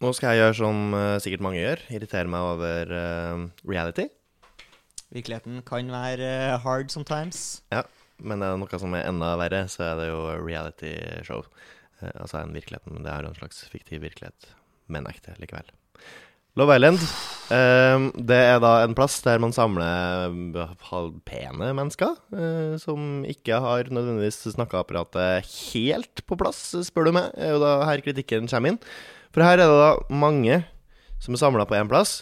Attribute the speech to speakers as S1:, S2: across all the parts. S1: Nå skal jeg gjøre som eh, sikkert mange gjør, irritere meg over eh, reality.
S2: Virkeligheten kan være eh, hard sometimes.
S1: Ja, men det er noe som er enda verre, så er det jo reality-show. Eh, altså en virkelighet, men det er jo en slags fiktiv virkelighet, men ekte likevel. Love Island, eh, det er da en plass der man samler eh, hal- pene mennesker, eh, som ikke har nødvendigvis snakkeapparatet helt på plass, spør du meg. Det er jo da her kritikken kommer inn. For her er det da mange som er samla på én plass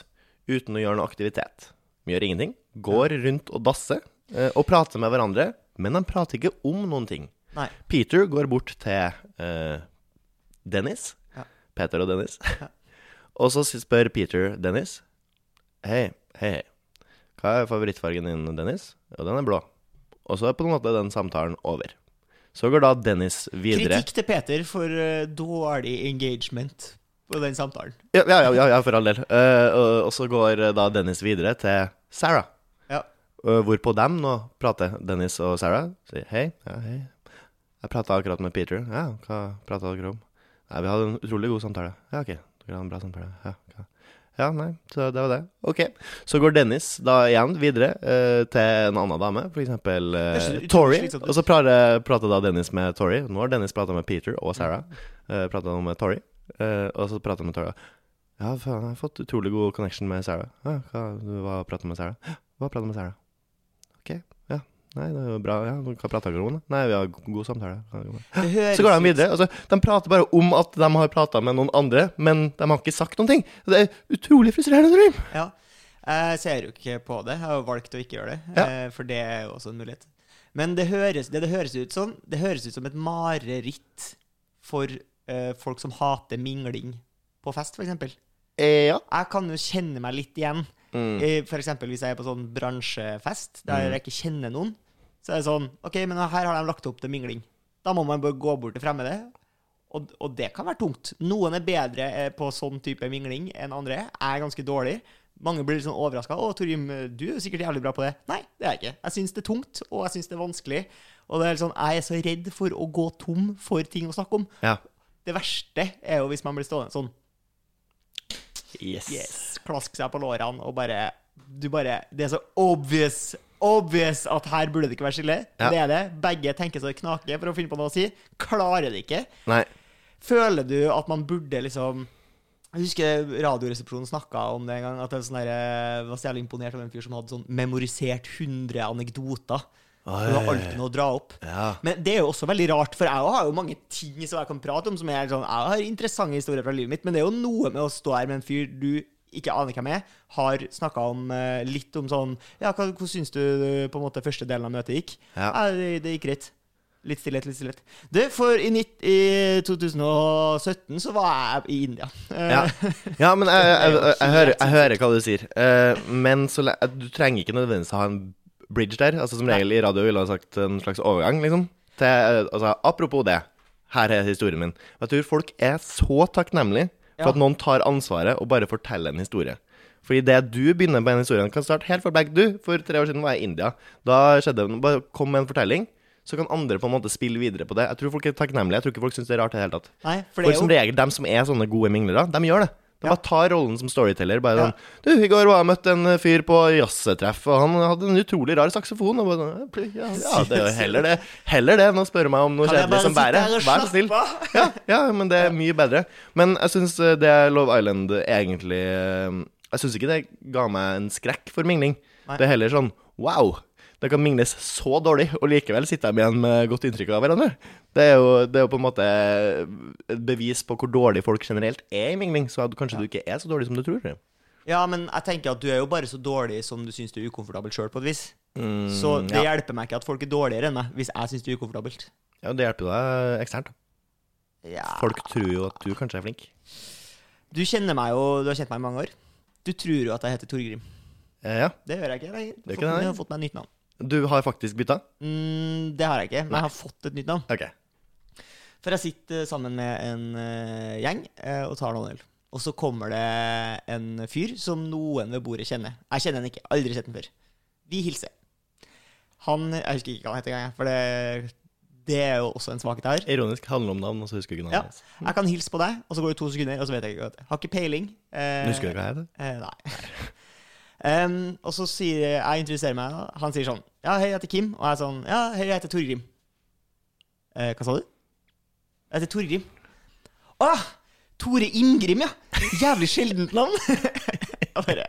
S1: uten å gjøre noe aktivitet. De gjør ingenting. Går rundt og dasser eh, og prater med hverandre, men de prater ikke om noen ting.
S2: Nei.
S1: Peter går bort til eh, Dennis.
S2: Ja.
S1: Peter og Dennis.
S2: Ja.
S1: og så spør Peter Dennis Hei, hei, hei. Hva er favorittfargen din, Dennis? Og den er blå. Og så er på en måte den samtalen over. Så går da Dennis videre.
S2: Kritikk til Peter for eh, dårlig engagement på den samtalen.
S1: Ja, ja, ja, ja, ja, for all del. Eh, og, og så går eh, da Dennis videre til Sarah.
S2: Ja.
S1: Eh, hvorpå dem nå prater Dennis og Sarah. Sier hei. Ja, hei. Jeg prata akkurat med Peter. Ja, hva prata dere om? Nei, vi hadde en utrolig god samtale. Ja, ok. Dere hadde en bra samtale. Ja, hva? ja, nei, så det var det. Ok. Så går Dennis da igjen videre eh, til en annen dame, for eksempel eh,
S2: Det høres utrolig
S1: Tori.
S2: slitsomt ut.
S1: Og så prater, prater da Dennis med Tori. Nå har Dennis prata med Peter og Sarah. Uh, prata med Tori. Eh, og så prata med Tori. Ja, faen, jeg har fått utrolig god connection med Sarah. Ja, hva, du var og pratet med Sarah? Ja, hva pratet med Sarah? Ok, ja. Nei, det er jo bra. Ja, hva pratet dere om da? Nei, vi har go- god samtale. Ja, god-
S2: Mm. Det høres
S1: Så går de
S2: ut-
S1: videre. Altså, de prater bare om at de har pratet med noen andre, men de har ikke sagt noen ting. Det er utrolig frustrerende, tror jeg.
S2: Ja. Jeg ser jo ikke på det. Jeg har jo valgt å ikke gjøre det,
S1: Ja.
S2: eh, for det er jo også en mulighet. Men det høres, det, det høres ut som Det høres ut som et mareritt for eh, folk som hater mingling på fest, f.eks.
S1: Eh, ja.
S2: Jeg kan jo kjenne meg litt igjen.
S1: Mm.
S2: Eh, For F.eks. hvis jeg er på sånn bransjefest der jeg ikke kjenner noen. Så er det sånn OK, men her har de lagt opp til mingling. Da må man bare gå bort til fremmede. Og, og det kan være tungt. Noen er bedre eh, på sånn type mingling enn andre. Jeg er ganske dårlig. Mange blir litt sånn overraska. 'Å, Torgrim, du er jo sikkert jævlig bra på det.' Nei, det er jeg ikke. Jeg syns det er tungt, og jeg syns det er vanskelig. Og det er litt sånn, jeg er så redd for å gå tom for ting å snakke om.
S1: Ja.
S2: Det verste er jo hvis man blir stående sånn
S1: Yes.
S2: yes, klaske seg på lårene og bare Du bare Det er så obvious. Obvious at her burde det ikke være skille.
S1: Ja.
S2: Det er det. Begge tenker så det knaker for å finne på noe å si. Klarer det ikke.
S1: Nei.
S2: Føler du at man burde liksom Jeg husker Radioresepsjonen snakka om det en gang. At jeg sånn der, var så jævlig imponert over en fyr som hadde sånn memorisert 100 anekdoter.
S1: Oi.
S2: Det var alltid noe å dra opp.
S1: Ja.
S2: Men det er jo også veldig rart, for jeg har jo mange ting som jeg kan prate om. Som er sånn, jeg har interessante historier fra livet mitt, men det er jo noe med å stå her med en fyr du ikke aner hvem er, har snakka om eh, litt om sånn Ja, hva, hvordan syns du eh, på en måte første delen av møtet gikk?
S1: Ja.
S2: «Nei, det, det gikk greit. Litt stillhet, litt stillhet. Du, for i, nitt- i 2017 så var jeg i India. Eh,
S1: Ja, ja men jeg, jeg, jeg, jeg, hører, jeg
S2: helt
S1: hører hva du sier. Eh, men så, le- du trenger ikke nødvendigvis å ha en bridge der. Altså Som regel i radio ville jeg sagt en slags overgang, liksom. Til, eh, altså, apropos det, her er historien min. Jeg tror folk er så takknemlige for
S2: Ja.
S1: at noen tar ansvaret og bare forteller en historie. Fordi det du begynner på en historie, kan starte helt fra back du. For tre år siden var jeg i India. Da skjedde det Bare kom med en fortelling. Så kan andre på en måte spille videre på det. Jeg tror folk er takknemlige. Jeg tror ikke folk syns det er rart i det hele tatt.
S2: Nei, for
S1: For
S2: det er
S1: som
S2: jo
S1: regel, dem som er sånne gode minglere, de gjør det. De
S2: Ja.
S1: bare tar rollen som storyteller. Bare
S2: Ja.
S1: sånn 'Du, i går var jeg møtt en eh, fyr på jazztreff, og han hadde en utrolig rar saksofon.' Og bare, sånn, ja, ja, det er jo heller det Heller det enn å spørre meg om noe
S2: Kan jeg
S1: kjedelig
S2: bare
S1: som
S2: sitte
S1: bærer.
S2: her og
S1: Vær så snill.
S2: slappe av?
S1: Ja, ja, men det er mye bedre. Men jeg syns eh, det Love Island egentlig eh, Jeg syns ikke det ga meg en skrekk for mingling.
S2: Nei.
S1: Det er heller sånn wow. Det kan mingles så dårlig, og likevel sitter de igjen med godt inntrykk av hverandre. Det er jo, det er jo på en måte et bevis på hvor dårlig folk generelt er i mingling, så at kanskje du ikke er så dårlig som du tror.
S2: Ja, men jeg tenker at du er jo bare så dårlig som du syns du er ukomfortabel sjøl, på et vis.
S1: Mm,
S2: så det hjelper meg ikke at folk er dårligere enn meg, hvis jeg syns det er ukomfortabelt.
S1: Ja, Det hjelper jo deg eksternt.
S2: Ja.
S1: Folk tror jo at du kanskje er flink.
S2: Du kjenner meg jo, du har kjent meg i mange år. Du tror jo at jeg heter Torgrim.
S1: Eh, Ja,
S2: Det gjør jeg ikke. Jeg
S1: Det er
S2: har
S1: ikke det,
S2: fått,
S1: nei.
S2: jeg har fått meg nytt navn.
S1: Du har faktisk bytta?
S2: Mm, det har jeg ikke, men jeg har fått et nytt navn.
S1: Ok.
S2: For jeg sitter sammen med en eh, gjeng eh, og tar noen øl. Og så kommer det en fyr som noen ved bordet kjenner. Jeg kjenner han ikke. Aldri sett han før. Vi hilser. Han Jeg husker ikke hva han heter engang, jeg, for det Det er jo også en svakhet jeg har.
S1: Ironisk handler om navn, og så husker du ikke
S2: Ja.
S1: navnet hans.
S2: Jeg kan hilse på deg, og så går det to sekunder, og så vet jeg ikke hva det er. Har ikke peiling. Eh,
S1: Du husker ikke hva jeg heter?
S2: Eh, nei. Em, og så sier jeg, jeg introduserer meg, da. han sier sånn Ja, hei, jeg heter Kim. Og jeg er sånn Ja, hei, jeg heter Torgrim. Eh, hva sa du? Jeg heter Torgrim. Å ja! Tore Imgrim, ja! Jævlig sjeldent navn. Jeg bare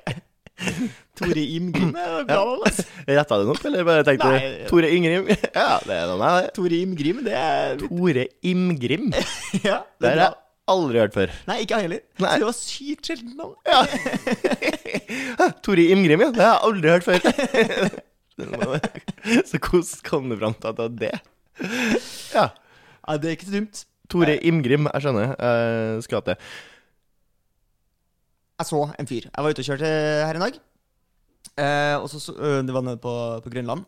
S2: Tore Imgrim er bra navn, altså.
S1: Retta du den opp, eller bare tenkte
S2: Nei. eh,
S1: du Tore Ingrim? ja, det er noe med det.
S2: Tore Imgrim, det er
S1: Tore Imgrim. Det
S2: Ja, det
S1: har
S2: er bra.
S1: jeg aldri hørt før.
S2: Nei, ikke jeg heller.
S1: Nei.
S2: Så det var sykt sjeldent navn.
S1: Tore Imgrim, ja. Det har jeg aldri hørt før. så hvordan kom du fram til at det var det? Ja.
S2: Ja, det er ikke så dumt.
S1: Tore Imgrim, jeg skjønner. Eh, Jeg skal til.
S2: Jeg så en fyr. Jeg var ute og kjørte her en dag. Eh, og så, så, øh, det var nede på, på Grønland.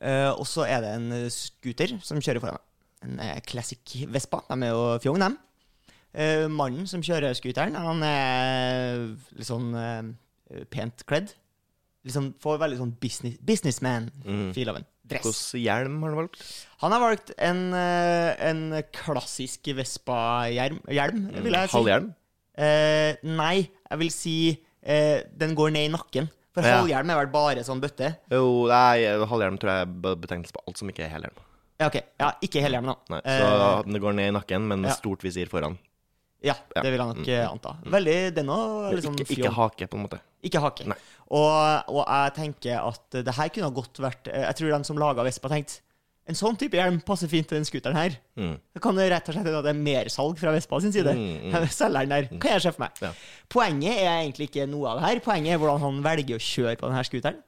S2: Eh, og så er det en eh, scooter som kjører foran meg. En eh, classic Vespa. De er jo fjong, dem. Eh, mannen som kjører scooteren, han er litt sånn eh, pent kledd. Liksom får veldig sånn business,
S1: Mm.
S2: businessman-feel av en dress.
S1: Hvilken hjelm har du valgt?
S2: Han har valgt en, eh, en klassisk Vespa-hjelm, hjelm, vil jeg si.
S1: Halvhjelm?
S2: Eh, nei, jeg vil si eh, den går ned i nakken. For
S1: Ja.
S2: halvhjelm er vel bare sånn bøtte?
S1: Jo, nei, halvhjelm tror jeg er be- betegnelse på alt som ikke er helhjelm.
S2: Ja, ok. Ja, ikke helhjelm, da.
S1: Nei, så
S2: Eh,
S1: den går ned i nakken, men med
S2: ja.
S1: stort visir foran.
S2: ja,
S1: ja. Mm,
S2: det vil jeg nok eh, anta. Veldig, Den òg liksom
S1: Ikke, ikke
S2: fjong.
S1: hake, på en måte.
S2: Ikke hake.
S1: Nei.
S2: Og, og jeg tenker at det her kunne ha godt vært eh, Jeg tror de som laga Vespa, tenkte en sånn type hjelm passer fint til den scooteren her.
S1: Mm.
S2: Det kan jo rett og slett hende at det er mersalg fra Vespa sin side.
S1: Mm,
S2: Selgeren der kan jeg se for meg.
S1: Ja.
S2: Poenget er egentlig ikke noe av det her. Poenget er hvordan han velger å kjøre på denne scooteren.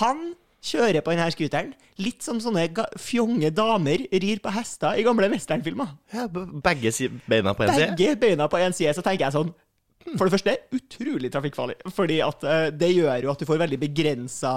S2: Han kjører på denne scooteren litt som sånne ga fjonge damer rir på hester i gamle westernfilmer.
S1: Ja, be- begge si- beina på én side.
S2: Begge beina på én side, så tenker jeg sånn
S1: Hmm.
S2: For det første, utrolig trafikkfarlig. Fordi at eh, det gjør jo at du får veldig begrensa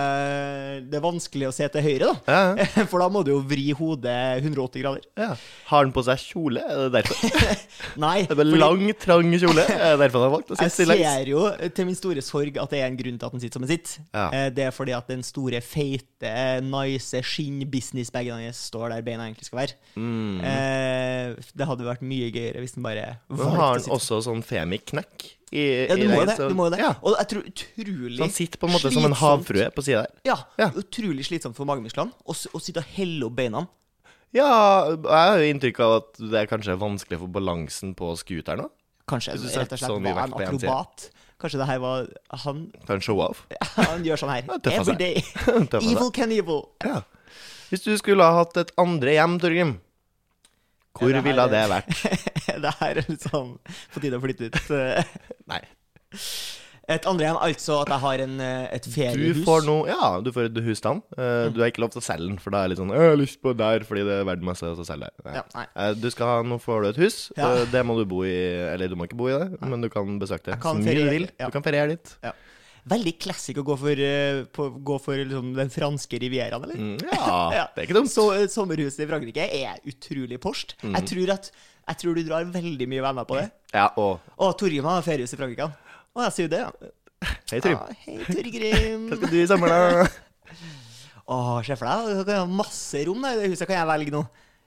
S2: eh, Det er vanskelig å se til høyre, da.
S1: Ja, ja.
S2: For da må du jo vri hodet 180 grader.
S1: ja. Har han på seg kjole? Er det derfor?
S2: Nei.
S1: Er det
S2: fordi-
S1: lang, trang kjole? Er det derfor han har valgt å
S2: Jeg
S1: sitte stillongs?
S2: ser jo til min store sorg at det er en grunn til at den sitter som den sitter.
S1: Ja.
S2: Eh, Det er fordi at den store, feite, nice skinn-businessbagen hans står der beina egentlig skal være.
S1: Mm.
S2: Eh, Det hadde vært mye gøyere hvis den bare
S1: Men har han
S2: valgte å sitte.
S1: også sånn femiknekk? I,
S2: Ja, du
S1: i
S2: må
S1: det,
S2: jo det.
S1: så-
S2: Du må jo det.
S1: Ja.
S2: Og jeg tror utrolig
S1: Så han sitter på en måte som en
S2: slitsomt-
S1: havfrue på sida der.
S2: Ja,
S1: Ja.
S2: Utrolig slitsomt for magemusklene å s- å sitte og helle opp beina.
S1: Ja, jeg har jo inntrykk av at det er kanskje vanskelig for balansen på scooteren òg.
S2: Kanskje
S1: Hvis du
S2: rett og
S1: setter
S2: slett
S1: så mye
S2: var
S1: vekt
S2: en
S1: på en side.
S2: akrobat. Kanskje det her var Han,
S1: Kan show off.
S2: han gjør sånn her.
S1: tøffa
S2: Every
S1: seg.
S2: day.
S1: Tøffa seg.
S2: Evil can evil.
S1: Ja. Hvis du skulle ha hatt et andre hjem, Torgrim, hvor
S2: Ja, det her eh,
S1: ville det
S2: er-
S1: vært?
S2: det her er litt sånn på tide å flytte ut.
S1: Nei.
S2: Et andre hjem, altså at jeg har en, eh, et feriehus.
S1: Du får noe Ja, du får et husstand. Eh,
S2: Mm.
S1: Du har ikke lov til å selge den, for da er det litt sånn «Å, 'Jeg har lyst på der fordi det er verdt masse, og så selger jeg'. Nei.
S2: Ja, nei.
S1: Eh, Du skal ha, nå får du et hus.
S2: Ja.
S1: Eh, Det må du bo i Eller du må ikke bo i det, men du kan besøke det
S2: Jeg kan
S1: så mye du
S2: feriere,
S1: vil.
S2: ja.
S1: Du kan feriere dit.
S2: Ja. Veldig classic å gå for, eh, på, gå for liksom, den franske rivieraen, eller?
S1: Mm, Ja, det er ikke dumt.
S2: Så eh, sommerhuset i Frankrike er utrolig porst.
S1: Mm.
S2: Jeg, tror at, jeg tror du drar veldig mye venner på det.
S1: Ja, og
S2: Å, Torgrim har feriehus i Frankrike. han. Å, jeg sier det, ja.
S1: hei, Trym.
S2: Ah, hei, Torgrim.
S1: Hva skal du i sommer, da?
S2: Å, se for deg, du kan ha masse rom da, i det huset. Kan jeg velge nå?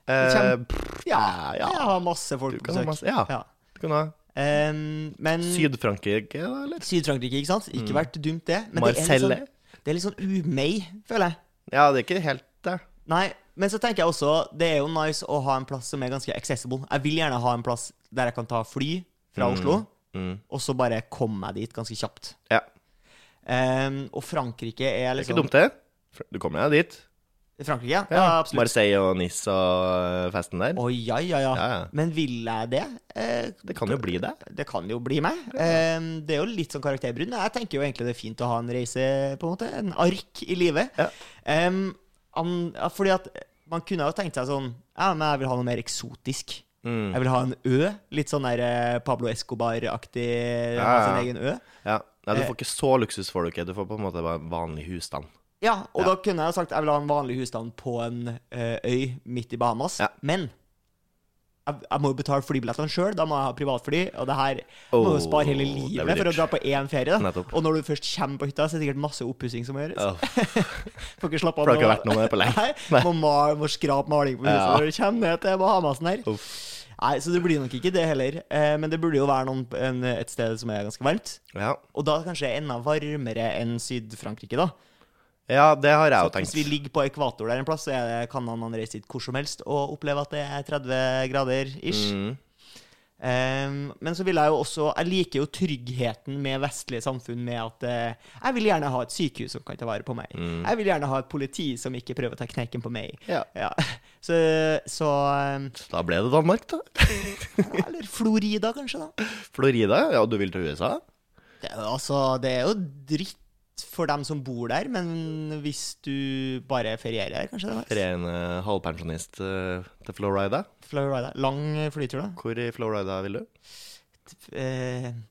S1: Eh,
S2: Kjem-
S1: pff,
S2: Ja,
S1: ja.
S2: jeg har masse folk
S1: Du
S2: på
S1: kan ha
S2: besøk.
S1: masse Ja.
S2: Ja. Mm.
S1: Du kan ha
S2: Em, Ehm, men
S1: Syd-Frankrike, da, eller?
S2: Syd-Frankrike, ikke sant?
S1: Mm.
S2: Ikke vært dumt, det. Men
S1: Marcelle.
S2: det er litt sånn, det er litt sånn umei, føler jeg.
S1: Ja, det er ikke helt der.
S2: Nei, men så tenker jeg også det er jo nice å ha en plass som er ganske accessible. Jeg vil gjerne ha en plass der jeg kan ta fly fra Oslo,
S1: Mm.
S2: og så bare komme meg dit ganske kjapt.
S1: Ja.
S2: Em, og Frankrike
S1: Det er
S2: er liksom
S1: ikke dumt, det. Fr- Du kommer deg dit.
S2: Frankrike, ja. ja absolutt.
S1: Marseille og Nice og eh, festen der.
S2: Å, ja, ja, ja,
S1: Ja, ja.
S2: Men vil jeg det? Eh,
S1: Det kan jo bli det.
S2: det kan jo bli meg. Em, det er jo litt sånn karakterbrudd. men Jeg tenker jo egentlig det er fint å ha en reise, på en måte. En ark i livet.
S1: Ja.
S2: Em, an- ja, fordi at man kunne jo tenkt seg sånn Ja, men jeg vil ha noe mer eksotisk.
S1: Mm.
S2: Jeg vil ha en ø. Litt sånn der eh, Pablo Escobar-aktig.
S1: Ja,
S2: Ha
S1: ja.
S2: sin egen ø.
S1: Ja. Nei,
S2: Eh.
S1: du får ikke så luksus for det, ikke. Du får på en måte bare en vanlig husstand.
S2: Ja, og da kunne jeg jo sagt jeg vil ha en vanlig husstand på en eh, øy midt i Bahamas.
S1: Ja.
S2: Men jeg, jeg må jo betale flybillettene sjøl, da må jeg ha privatfly. Og det her må
S1: Åh,
S2: jo spare hele
S1: det blir
S2: livet for å
S1: dyrt.
S2: dra på én ferie. da
S1: Nettopp.
S2: Og når du først kommer på hytta, så er det sikkert masse oppussing som må gjøres.
S1: Åh,
S2: Får ikke slappe av
S1: for det har ikke
S2: nå.
S1: vært noe med det på lenge.
S2: Nei, må, mal, må skrape maling på huset
S1: Ja.
S2: når du kommer ned til Bahamasen her. Nei, Så det blir nok ikke det heller. Eh, men det burde jo være noen, en, et sted som er ganske varmt.
S1: Ja.
S2: Og da kanskje enda varmere enn Syd-Frankrike, da.
S1: ja, det har jeg jo
S2: Så hvis
S1: tenkt.
S2: vi ligger på ekvator der en plass, så er det, kan han han reise dit hvor som helst og oppleve at det er 30 grader ish.
S1: Mm.
S2: Ehm, men så vil jeg jo også Jeg liker jo tryggheten med vestlige samfunn med at eh, jeg vil gjerne ha et sykehus som kan ta vare på meg. Jeg vil gjerne ha et politi som ikke prøver å ta knekken på meg.
S1: Mm. Ja.
S2: Så, så ehm,
S1: Så da ble det Danmark, da.
S2: ja, Eller Florida, kanskje, da.
S1: Florida. Ja, du vil til USA?
S2: Det er, jo, altså, det er jo dritt for dem som bor der, men hvis du bare ferierer her, kanskje det er nice.
S1: Ren eh, halvpensjonist eh, til Florida.
S2: Florida. Lang flytur, da.
S1: Hvor i Florida vil du?
S2: Eh,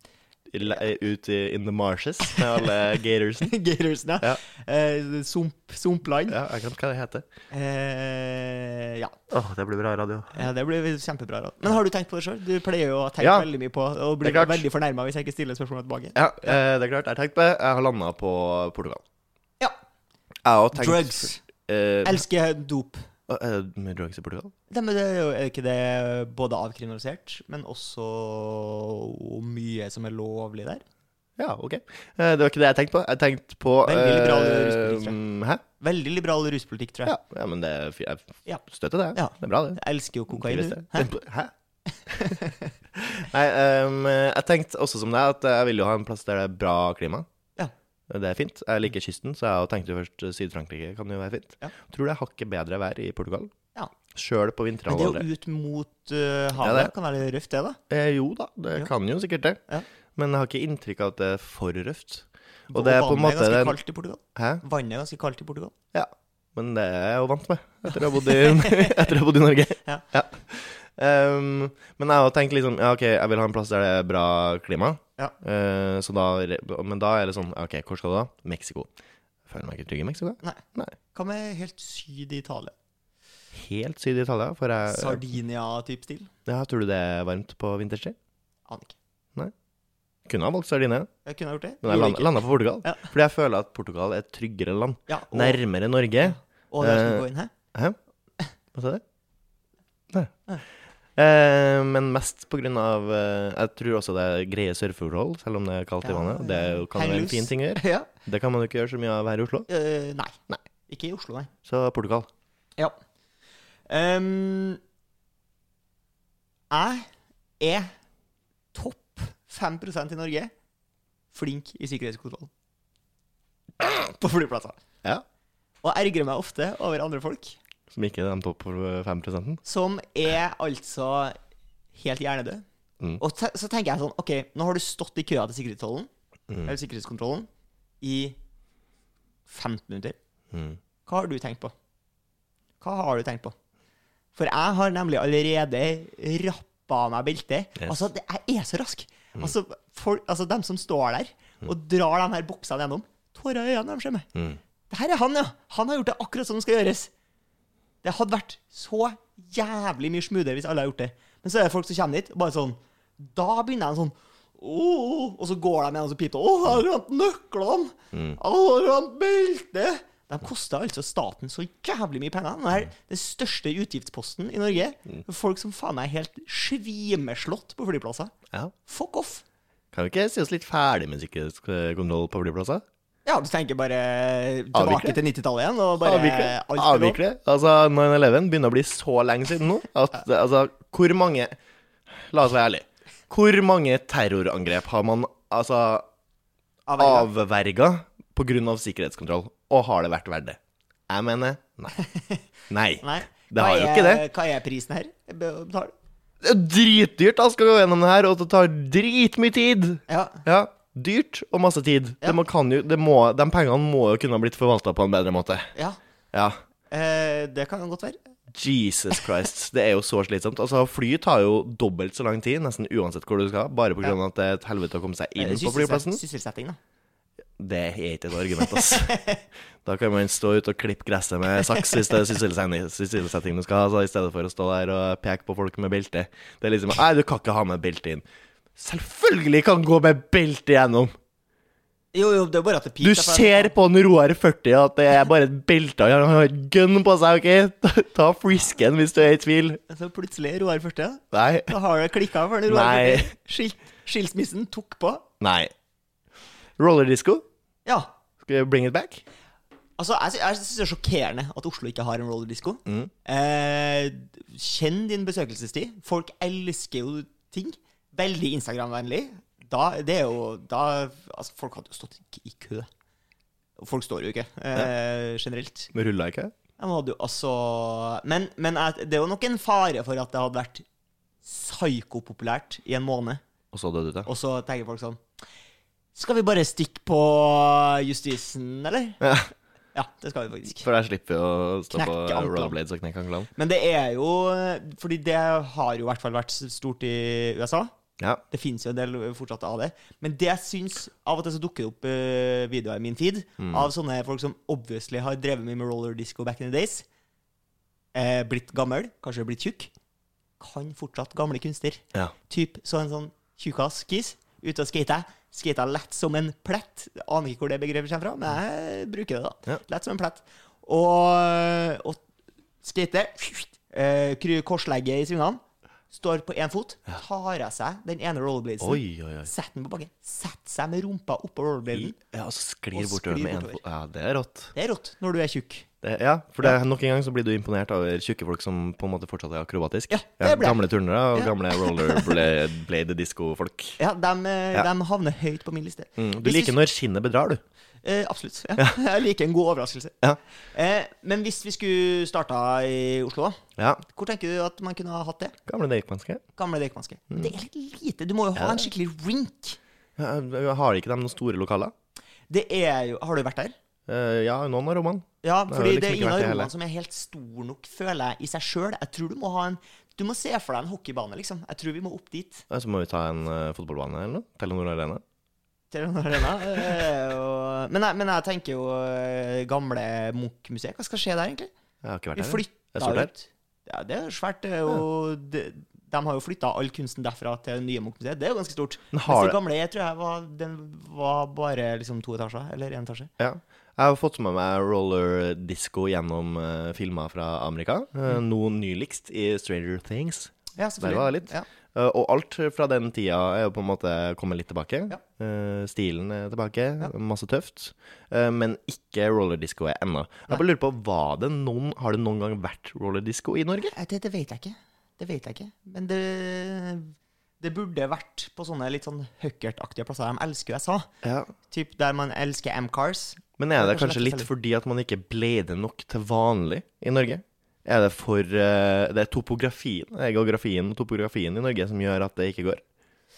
S1: I, la- eh, ut i, in the marshes med alle gatorsen?
S2: Gatorsen, ja.
S1: Ja.
S2: Eh, sump, sumpland. Ja.
S1: Ja, jeg glemte hva det heter.
S2: Eh, ja.
S1: Åh, det blir bra radio.
S2: ja, det blir kjempebra. råd. Men har du tenkt på det sjøl? Du pleier jo å tenke
S1: Ja.
S2: veldig mye på og
S1: Det
S2: blir
S1: er klart.
S2: veldig fornærma hvis jeg ikke stiller spørsmålet tilbake.
S1: Ja, eh, det er klart. Jeg har tenkt på det. Jeg har landa på Portugal.
S2: Ja.
S1: Jeg har også tenkt
S2: Drugs.
S1: Eh,
S2: Elsker dop.
S1: Å, Er det mye drugs i Portugal?
S2: Det, men det er jo er ikke det både avkriminalisert, men også mye som er lovlig der?
S1: Ja, OK. Eh, Det var ikke det jeg tenkte på. Jeg tenkte på
S2: Veldig liberal
S1: eh,
S2: ruspolitikk, tror
S1: Hæ?
S2: Veldig liberal ruspolitikk, tror jeg.
S1: Ja, ja men det, er fi-
S2: Ja.
S1: jeg støtter det.
S2: Ja.
S1: Det er bra, det.
S2: Jeg elsker jo kokain.
S1: Trives
S2: du.
S1: det. Hæ? Nei, ehm, jeg tenkte også som deg at jeg vil jo ha en plass der det er bra klima.
S2: Ja.
S1: Det er fint. Jeg liker kysten, så jeg tenkte jo først eh, Syd-Frankrike kan jo være fint.
S2: Ja.
S1: Tror det er hakket bedre vær i Portugal.
S2: Ja.
S1: Sjøl på vintrene
S2: Men det er jo ut mot eh, havet.
S1: Ja, det.
S2: Kan være litt røft, det, da.
S1: Eh, jo da, det
S2: Ja.
S1: kan jo sikkert det.
S2: Ja.
S1: Men jeg har ikke inntrykk av at det er for røft. Og det er på en
S2: vannet
S1: måte
S2: ganske
S1: den-
S2: kaldt i Portugal.
S1: Hæ?
S2: Vannet er ganske kaldt i Portugal.
S1: Ja, men det er jeg jo vant med etter å ha bodd i, etter å ha bodd i Norge.
S2: Ja.
S1: Ehm, men jeg har jo tenkt liksom, ja, ok, jeg vil ha en plass der det er bra klima.
S2: Ja.
S1: Eh, så da, men da er det sånn, ok, hvor skal du da? Meksiko. Føler meg ikke trygg i Meksiko.
S2: Nei.
S1: Nei.
S2: Hva med helt syd i Italia?
S1: Helt syd i Italia, for jeg,
S2: Sardinia-type stil?
S1: ja, tror du det er varmt på vinterstid?
S2: Aner ikke.
S1: Kunne ha valgt Sardinia,
S2: Jeg kunne ha gjort det.
S1: men jeg
S2: Gjorde
S1: land-
S2: ikke.
S1: landa på Portugal.
S2: Ja.
S1: Fordi jeg føler at Portugal er et tryggere land.
S2: Ja, og,
S1: Nærmere Norge.
S2: og der skal
S1: eh,
S2: vi gå inn, hæ?
S1: Hva sa du? Nei.
S2: Nei.
S1: Eh, men mest på grunn av eh, Jeg tror også det er greie surfeforhold, selv om det er kaldt i
S2: Ja,
S1: vannet. Det er jo, kan
S2: ja.
S1: jo være en
S2: Heilus.
S1: fin ting å gjøre.
S2: Ja.
S1: Det kan man jo ikke gjøre så mye av her i Oslo.
S2: Eh, nei.
S1: Nei.
S2: Ikke i Oslo, nei.
S1: Så Portugal.
S2: Ja. Ehm, jeg er topp 5 i Norge flink i sikkerhetskontroll. På flyplasser.
S1: Ja.
S2: Og ergrer meg ofte over andre folk.
S1: Som ikke er de topp 5 mm.
S2: Som er altså helt hjernedød.
S1: Mm.
S2: Og te så tenker jeg sånn OK, nå har du stått i køa til sikkerhetskontrollen,
S1: Mm,
S2: eller sikkerhetskontrollen i 15 minutter.
S1: Mm.
S2: Hva har du tenkt på? Hva har du tenkt på? For jeg har nemlig allerede rappa av meg beltet.
S1: Yes.
S2: Altså, det, jeg er så rask. Altså, folk, altså, dem som står der og drar de her boksene gjennom Tårer i øynene, de ser meg.
S1: Mm.
S2: Det her er han, ja. Han har gjort det akkurat som det skal gjøres. Det hadde vært så jævlig mye smoothere hvis alle hadde gjort det. Men så er det folk som kommer dit, og bare sånn Da begynner de sånn «Åh», Og så går de igjen og så piper de. 'Å, jeg har glemt nøklene! Mm. Jeg har glemt beltet!' De koster altså staten så jævlig mye penger. Det er den største utgiftsposten i Norge. Folk som faen meg er helt svimeslått på flyplasser.
S1: Ja.
S2: Fuck off!
S1: Kan vi ikke si oss litt ferdig med sikkerhetskontroll på flyplasser?
S2: Ja, du tenker bare tilbake
S1: Avvikle?
S2: til 90-tallet igjen, og bare
S1: Avvikle?
S2: alt er lov.
S1: Avvikle? Altså, 9-11 begynner å bli så lenge siden nå at altså, hvor mange La oss være ærlige. Hvor mange terrorangrep har man altså
S2: Avverga.
S1: avverga pga. sikkerhetskontroll. Og har det vært verdt det? Jeg mener nei. Nei.
S2: Nei.
S1: Det
S2: Hva
S1: har jo
S2: er-
S1: ikke det.
S2: Hva er prisen her? Jeg bør betale.
S1: Det er dritdyrt. Da skal vi gå gjennom det her, og det tar dritmye tid.
S2: Ja.
S1: Ja, Dyrt og masse tid. Det må, kan jo, det må, de pengene må jo kunne ha blitt forvalta på en bedre måte.
S2: ja.
S1: Ja.
S2: Eh, det kan godt være.
S1: Jesus Christ, det er jo så slitsomt. Altså, Fly tar jo dobbelt så lang tid, nesten uansett hvor du skal, bare pga. at det er et helvete å komme seg inn
S2: Eh,
S1: på
S2: sysselsett-
S1: flyplassen.
S2: Sysselsetting, da.
S1: Det er ikke et argument, ass. Da kan man stå ute og klippe gresset med saks hvis det er sysselsetting sysselsetting du skal ha, så i stedet for å stå der og peke på folk med belte. Det er liksom Nei, du kan ikke ha med belte inn. Selvfølgelig kan gå med belte gjennom!
S2: Jo, jo, det er bare at det
S1: Du
S2: piper. for-
S1: ser på en Roar 40 at det er bare et belte han har, han har et gun på seg, OK? Ta- Ta frisken hvis du er i tvil.
S2: Så plutselig Roar første.
S1: Nei.
S2: Da har det klikka for den Roar
S1: Nei.
S2: første. Skil, skilsmissen tok på.
S1: Nei. Roller disco?
S2: Ja.
S1: Skal vi bring it back?
S2: Altså, jeg, sy- jeg syns det er sjokkerende at Oslo ikke har en rollerdisko. Eh, kjenn din besøkelsestid. Folk elsker jo ting. Veldig Instagram-vennlig. Da, det er jo da Altså, folk hadde jo stått i k- i kø. Og Folk står jo ikke, eh, generelt.
S1: Rulla ikke?
S2: De hadde jo altså Men, men jeg- det er jo nok en fare for at det hadde vært psykopopulært i en måned.
S1: Og så døde du, da.
S2: Og så tenker folk sånn Skal vi bare stikke på justisen, eller?
S1: Ja,
S2: Ja, det skal vi faktisk.
S1: for der slipper vi å stå
S2: Knekke
S1: på
S2: anklene.
S1: rollerblades og knekke anklene.
S2: Men det er jo Fordi det har jo i hvert fall vært stort i USA.
S1: Ja.
S2: Det fins jo en del eh, fortsatt av det. Men det jeg syns Av og til så dukker det opp eh, videoer i min feed av sånne folk som obviously har drevet mye med roller disco back in the days. Eh, blitt gammel, kanskje blitt tjukk. Kan fortsatt gamle kunster.
S1: ja.
S2: Typ så en sånn tjukkaskis ute og skata. Skata lett som en plett. Jeg Aner ikke hvor det begrepet kommer fra, men jeg bruker det, da.
S1: Ja.
S2: Lett som en plett. Og, og skate eh, kry- Korslegge i svingene. Står på én fot, tar av seg den ene rollerbladesen,
S1: Oi, oi, oi.
S2: setter den på bakken, setter seg med rumpa oppå rollerbladen.
S1: Ja, og så sklir
S2: Og
S1: bortover
S2: sklir
S1: med en
S2: bortover.
S1: fot. Ja, det er rått.
S2: Det er rått når du er tjukk.
S1: Det, ja, for det, nok en gang så blir du imponert over tjukke folk som på en måte fortsatt er akrobatisk.
S2: Ja, det ble jeg.
S1: gamle turnere og
S2: Ja.
S1: gamle rollerblade-disko-folk.
S2: Ja, de, eh,
S1: Ja.
S2: de havner høyt på min liste.
S1: Mm, du
S2: Hvis
S1: liker når skinnet bedrar, du.
S2: Eh, absolutt. Ja. Jeg liker en god overraskelse.
S1: Ja.
S2: Eh, men hvis vi skulle starta i Oslo, da?
S1: ja.
S2: Hvor tenker du at man kunne ha hatt det?
S1: Gamle deikmannske.
S2: Gamle Deichmanske.
S1: Mm.
S2: Men Det er litt lite. Du må jo ha en skikkelig rink.
S1: Ja, har ikke de noen store lokaler?
S2: Det er jo Har du vært der?
S1: Eh, ja, noen av rommene.
S2: Ja,
S1: Det har
S2: fordi
S1: jo liksom
S2: det er
S1: ikke
S2: ingen
S1: vært
S2: av
S1: det heller.
S2: rommene som er helt stor nok, føler jeg, i seg sjøl. Jeg tror du må ha en Du må se for deg en hockeybane, liksom. Jeg tror vi må opp dit.
S1: Ja, Så må vi ta en eh, fotballbane eller noe. Telenor Arena.
S2: Til den arena. Eh, og- Men jeg, men jeg tenker jo eh, gamle Munch-museet. Hva skal skje der, egentlig?
S1: Jeg har ikke vært
S2: Vi
S1: der. Det er
S2: flytta
S1: stort der.
S2: ut. Ja, det er jo svært. Det er jo de, de har jo flytta all kunsten derfra til det nye Munch-museet. Det er jo ganske stort.
S1: Men
S2: Mens
S1: har
S2: det
S1: det-
S2: gamle jeg tror jeg var, den var bare liksom to etasjer, eller én etasje.
S1: Ja. Jeg har fått med meg roller disco gjennom eh, filmer fra Amerika. Uh, Noe nyligst i Stranger Things.
S2: Ja,
S1: Der var det litt.
S2: Ja.
S1: Eh, og alt fra den tida er jo på en måte kommet litt tilbake.
S2: Ja.
S1: Eh, stilen er tilbake, masse tøft. Eh, men ikke rollerdisco er ennå. Jeg bare lurer på, var det noen, Har det noen gang vært rollerdisco i Norge?
S2: Eh, Det, det vet jeg ikke. Det vet jeg ikke. Men det, det burde vært på sånne litt sånn Huckert-aktige plasser. De elsker USA.
S1: Ja.
S2: Typ der man elsker M-cars.
S1: Men er det kanskje
S2: Kanskje lett å
S1: litt
S2: selge.
S1: fordi at man ikke bleide nok til vanlig i Norge? Er det for eh, Det er topografien, det er geografien og topografien i Norge som gjør at det ikke går?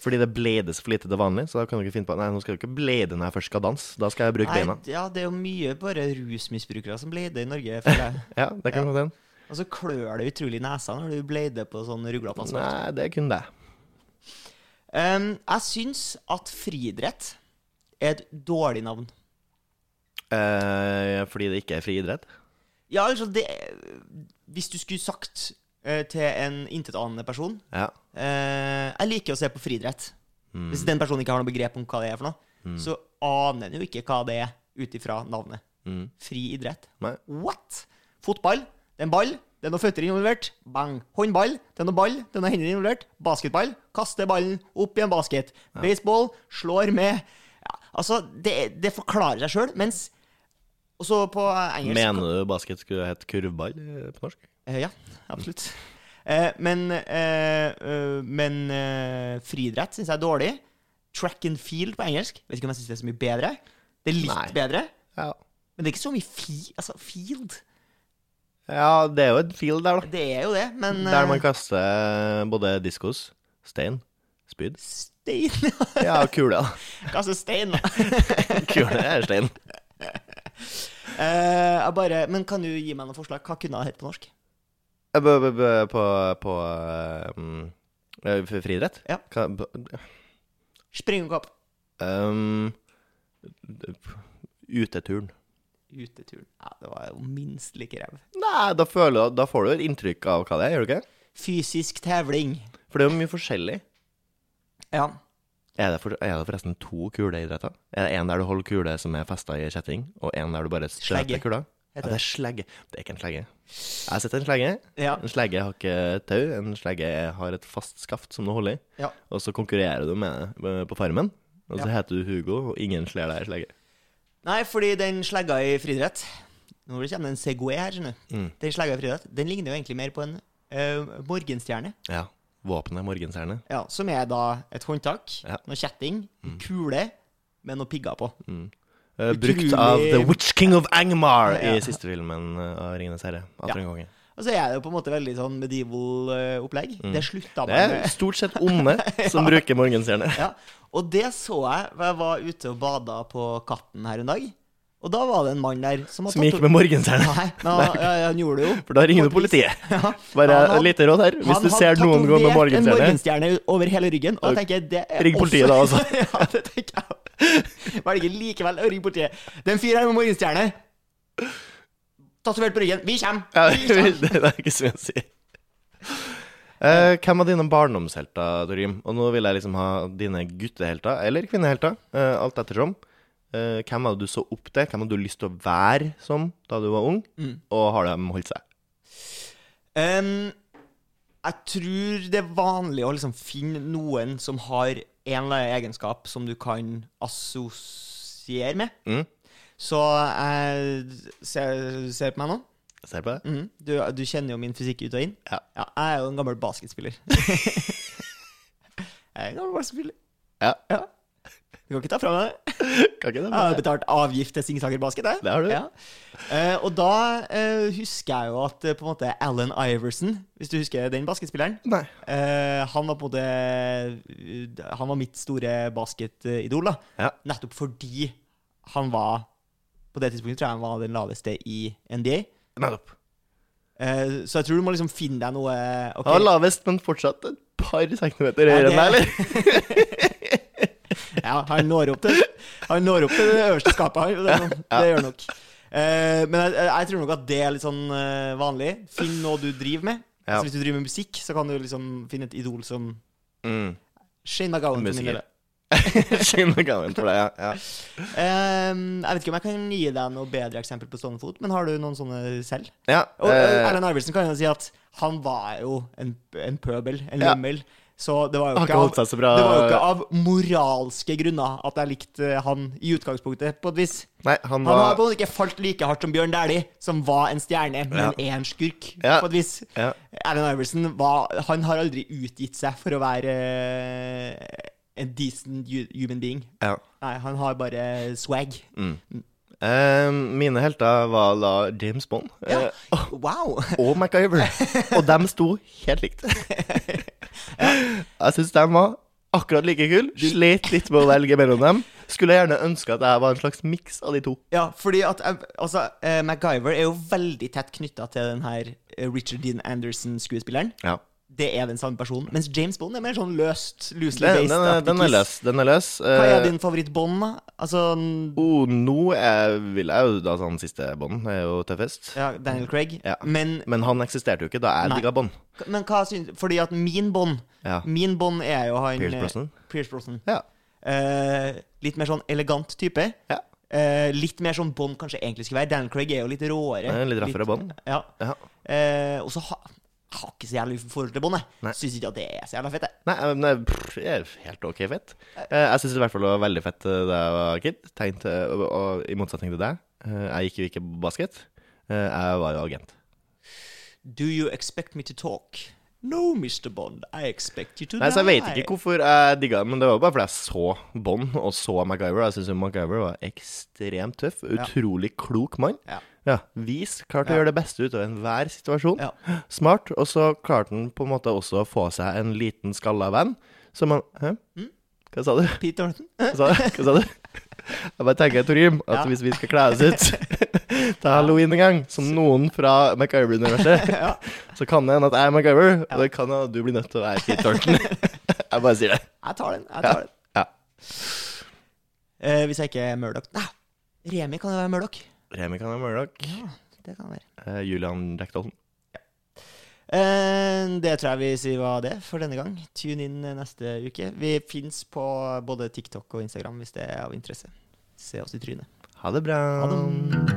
S1: Fordi det bledes for lite til vanlig, så da kan du ikke finne på Nei, nå skal du ikke blede når jeg først skal danse. Da skal jeg bruke
S2: Nei,
S1: beina.
S2: ja, det er jo mye bare rusmisbrukere som bleider i Norge, føler jeg.
S1: Ja, det kan godt hende.
S2: Og så klør det utrolig i nesa når du bleider på sånn ruglete asfalt.
S1: Nei, det er kun det.
S2: Um, jeg syns at friidrett er et dårlig navn.
S1: Eh, fordi det ikke er fri idrett?
S2: Ja, altså det Hvis du skulle sagt eh, til en intetanende person
S1: Ja. Mm,
S2: Eh, jeg liker å se på friidrett. Hvis den personen ikke har noe begrep om hva det er for noe, så aner en jo ikke hva det er ut ifra navnet.
S1: Mm.
S2: Friidrett.
S1: Nei.
S2: What? Fotball, det er en ball, det er noen føtter involvert. Bang. Håndball, det er noen ball, det er noen hender involvert. Basketball, kaster ballen opp i en basket. Baseball, slår med ja, Altså, det, det forklarer seg sjøl, mens Og så på engelsk
S1: Mener du basket skulle hett kurvball eh, på norsk?
S2: Eh, ja, absolutt. Eh, men eh, eh, men eh, friidrett syns jeg er dårlig. Track and field på engelsk. Vet ikke om jeg syns det er så mye bedre. Det er litt
S1: Nei.
S2: bedre,
S1: Ja.
S2: men det er ikke så mye fi, altså field.
S1: ja, det er jo et field der, da.
S2: Det er jo det, men eh,
S1: Der man kaster eh, både diskos, stein, spyd
S2: Stein
S1: Ja, kule, da.
S2: Kaste stein, da.
S1: Kule er stein.
S2: Eh, jeg bare, men kan du gi meg noen forslag? Hva kunne jeg hett på norsk?
S1: Eh, b- b- b- På, på um, eh, f- friidrett?
S2: Ja.
S1: Hva- b-
S2: Springekopp.
S1: Um, uteturen.
S2: Uteturen. Ja, det var jo minst like ræv.
S1: Nei, da, føler, da får du et inntrykk av hva det er, gjør du ikke?
S2: Fysisk tevling.
S1: For det er jo mye forskjellig.
S2: Ja.
S1: Er det, for, er det forresten to kuleidretter? Er det en der du holder kule som er festa i kjetting, og en der du bare
S2: Slegge,
S1: støter kula? Ja,
S2: heter
S1: det er slegge. Det er ikke en slegge. Jeg har sett en slegge.
S2: Ja.
S1: En slegge har ikke tau. En slegge har et fast skaft som du holder i.
S2: Ja.
S1: Og så konkurrerer du med det eh, på farmen. Og så
S2: Ja.
S1: heter du Hugo, og ingen slår deg i slegge.
S2: Nei, fordi den slegga i friidrett Nå kommer det en Segway her, skjønner du.
S1: Mm.
S2: Den slegga i friidrett Den ligner jo egentlig mer på en eh, morgenstjerne.
S1: Ja. Våpenet, morgenstjerne.
S2: Ja, som er da et håndtak,
S1: Ja.
S2: noe kjetting, en kule med noen pigger på.
S1: Eh,
S2: Utrolig-
S1: brukt av The Witch King of Angmar
S2: Ja.
S1: i siste filmen eh, av Ringenes herre. Atter en konge.
S2: Og så er det jo på en måte veldig sånn medieval eh, opplegg. Det slutta
S1: Det
S2: man
S1: er
S2: med.
S1: stort sett onde som bruker morgenstjerne.
S2: Ja. Og det så jeg da jeg var ute og bada på Katten her en dag. Og da var det en mann der som hadde
S1: Som gikk med morgenstjerne.
S2: Nei, men han, ja, ja, han gjorde det jo.
S1: For da ringer du politiet.
S2: Ja.
S1: Bare
S2: Han hadde-
S1: et lite råd her. Hvis
S2: han
S1: du ser
S2: hadde
S1: noen gå med
S2: tatovert en
S1: morgenstjerne
S2: morgenstjerne over hele ryggen. Og da tenker jeg, det er
S1: Ring politiet da, altså.
S2: ja, det tenker jeg. Var det ikke likevel å ringe politiet? Den fyren her med morgenstjerne Tatovert på ryggen. Vi kommer!
S1: ja, Det er ikke så mye å si. Eh, hvem av dine barndomshelter, Torgrim? Og nå vil jeg liksom ha dine guttehelter, eller kvinnehelter, eh, alt ettersom. Eh, hvem hadde du så opp til? Hvem hadde du lyst til å være som da du var ung? Og har de holdt seg?
S2: Ehm, jeg tror det er vanlig å liksom finne noen som har en eller annen egenskap som du kan assosiere med.
S1: Mm.
S2: Så jeg ser, ser på meg nå.
S1: Ser på det?
S2: Mhm. Du, du kjenner jo min fysikk ut og inn.
S1: Ja.
S2: jeg er jo en gammel basketspiller. jeg er en gammel basketspiller.
S1: Ja.
S2: Du kan ikke ta fra meg det.
S1: Kan ikke det?
S2: Jeg har betalt avgift til Singsaker Basket. jeg.
S1: Det har du.
S2: Ja. Eh, og da eh, husker jeg jo at eh, på en måte Allen Iverson, hvis du husker den basketspilleren
S1: Nei.
S2: eh, Han var på en måte eh, Han var mitt store basketidol, da.
S1: Ja.
S2: Nettopp fordi han var På det tidspunktet tror jeg han var den laveste i NBA.
S1: Nettopp.
S2: Eh, så jeg tror du må liksom finne deg noe ok,
S1: Han var lavest, men fortsatt et par centimeter
S2: Ja,
S1: høyere enn deg,
S2: det-
S1: eller?
S2: Ja, han når opp til, han når opp til det øverste skapet her. Det, er sånn- det gjør han nok. Eh, men jeg, jeg tror nok at det er litt sånn eh, vanlig. Finn noe du driver med.
S1: Ja.
S2: Altså, hvis du driver med musikk, så kan du liksom finne et idol som
S1: Mm.
S2: Shane McGowan. for min del.
S1: Musiker. Skinn og gammel for deg, ja. ja.
S2: Eh, jeg vet ikke om jeg kan gi deg noe bedre eksempel på stående fot, men har du noen sånne selv?
S1: ja
S2: Og
S1: eh,
S2: Erlend Arvelsen kan jo si at han var jo en, en pøbel, en
S1: Ja.
S2: lømmel. Så det var, jo
S1: Han har
S2: ikke
S1: ikke holdt
S2: av,
S1: seg så bra.
S2: det var jo ikke av moralske grunner at jeg likte eh, han i utgangspunktet, på et vis.
S1: Nei, han
S2: Han har
S1: var
S2: på en måte ikke falt like hardt som Bjørn Dæhlie, som var en stjerne, men
S1: Ja.
S2: er en skurk,
S1: Ja.
S2: på et vis.
S1: ja.
S2: Erlend Arvelsen var, han har aldri utgitt seg for å være eh, en decent hu- human being.
S1: ja.
S2: Nei, han har bare swag.
S1: Mm. Eh, mine helter var da James Bond
S2: Ja.
S1: eh,
S2: Wow!
S1: og MacGyver. og de sto helt likt. Jeg syns de var akkurat like kule. Slet litt med å velge mellom dem. Skulle gjerne ønske at jeg var en slags miks av de to.
S2: Ja, fordi at eh, altså, eh, MacGyver er jo veldig tett knytta til den her eh, Richard Dean Anderson-skuespilleren.
S1: Ja.
S2: Det er den samme personen. Mens James Bond er mer sånn løst, loosely
S1: Den, den,
S2: based.
S1: er- den er løs. Den er løs.
S2: Hva
S1: Eh,
S2: er din favoritt-Bond, da? Altså n-
S1: oh, nå er, vil jeg jo da sånn siste Bond er jo tøffest.
S2: ja, Daniel Craig.
S1: Ja.
S2: Men,
S1: Men han eksisterte jo ikke da jeg
S2: Nei. Mm.
S1: digga Bond.
S2: men hva syns Fordi at min Bond
S1: Ja.
S2: Min Bond er jo han
S1: Pierce
S2: eh,
S1: Brosnan?
S2: Pierce Brosnan.
S1: Ja.
S2: Eh, litt mer sånn elegant type.
S1: ja.
S2: Eh, litt mer sånn Bond kanskje egentlig skulle være. Daniel Craig er jo litt råere.
S1: Eh, Litt raffere Bond.
S2: Ja.
S1: Ja.
S2: Eh, og så ha, jeg har ikke så jævlig forhold til bånd,
S1: Nei.
S2: jeg. Syns ikke at det er så jævla fett, jeg.
S1: Nei, eh, men det pff, det er helt ok fett. Eh, Jeg syns i hvert fall det var veldig fett eh, da jeg var kid. Tegnet, eh, og, og I motsetning til deg. eh, Jeg gikk jo ikke på basket. Eh, Jeg var jo agent.
S2: Do you expect me to talk? No, Mr. Bond, I expect you to
S1: Nei,
S2: die.
S1: Så jeg vet ikke hvorfor jeg digga det, men det var bare fordi jeg så Bond og så MacGyver. og Jeg syns MacGyver var ekstremt tøff. Utrolig klok mann.
S2: Ja.
S1: Ja, Vis. Klarte å gjøre det beste ut av enhver situasjon.
S2: Ja.
S1: Smart. Og så klarte han på en måte også å få seg en liten skalla venn som han Hæ? Hva sa du?
S2: Pete Dornton?
S1: Hva sa, hva sa du? Jeg bare tenker, Torgrim, at
S2: Ja.
S1: hvis vi skal kle oss ut til halloween en gang, som noen fra MacGyver-universet,
S2: Ja.
S1: så kan det hende at jeg er MacGyver, og det kan hende at du blir nødt til å være Pete Thornton. Jeg bare sier det.
S2: Jeg tar den. jeg tar den.
S1: Ja.
S2: Eh, hvis jeg ikke er Murdoch Nei, Remi kan jo være Murdoch.
S1: Remi kan være Murdoch.
S2: Ja, det kan være.
S1: Eh, Julian Jack Dalton.
S2: Eh, det tror jeg vi sier var det for denne gang. Tune inn eh, neste uke. Vi fins på både TikTok og Instagram hvis det er av interesse. Se oss i trynet.
S1: Ha det bra.
S2: Ha det.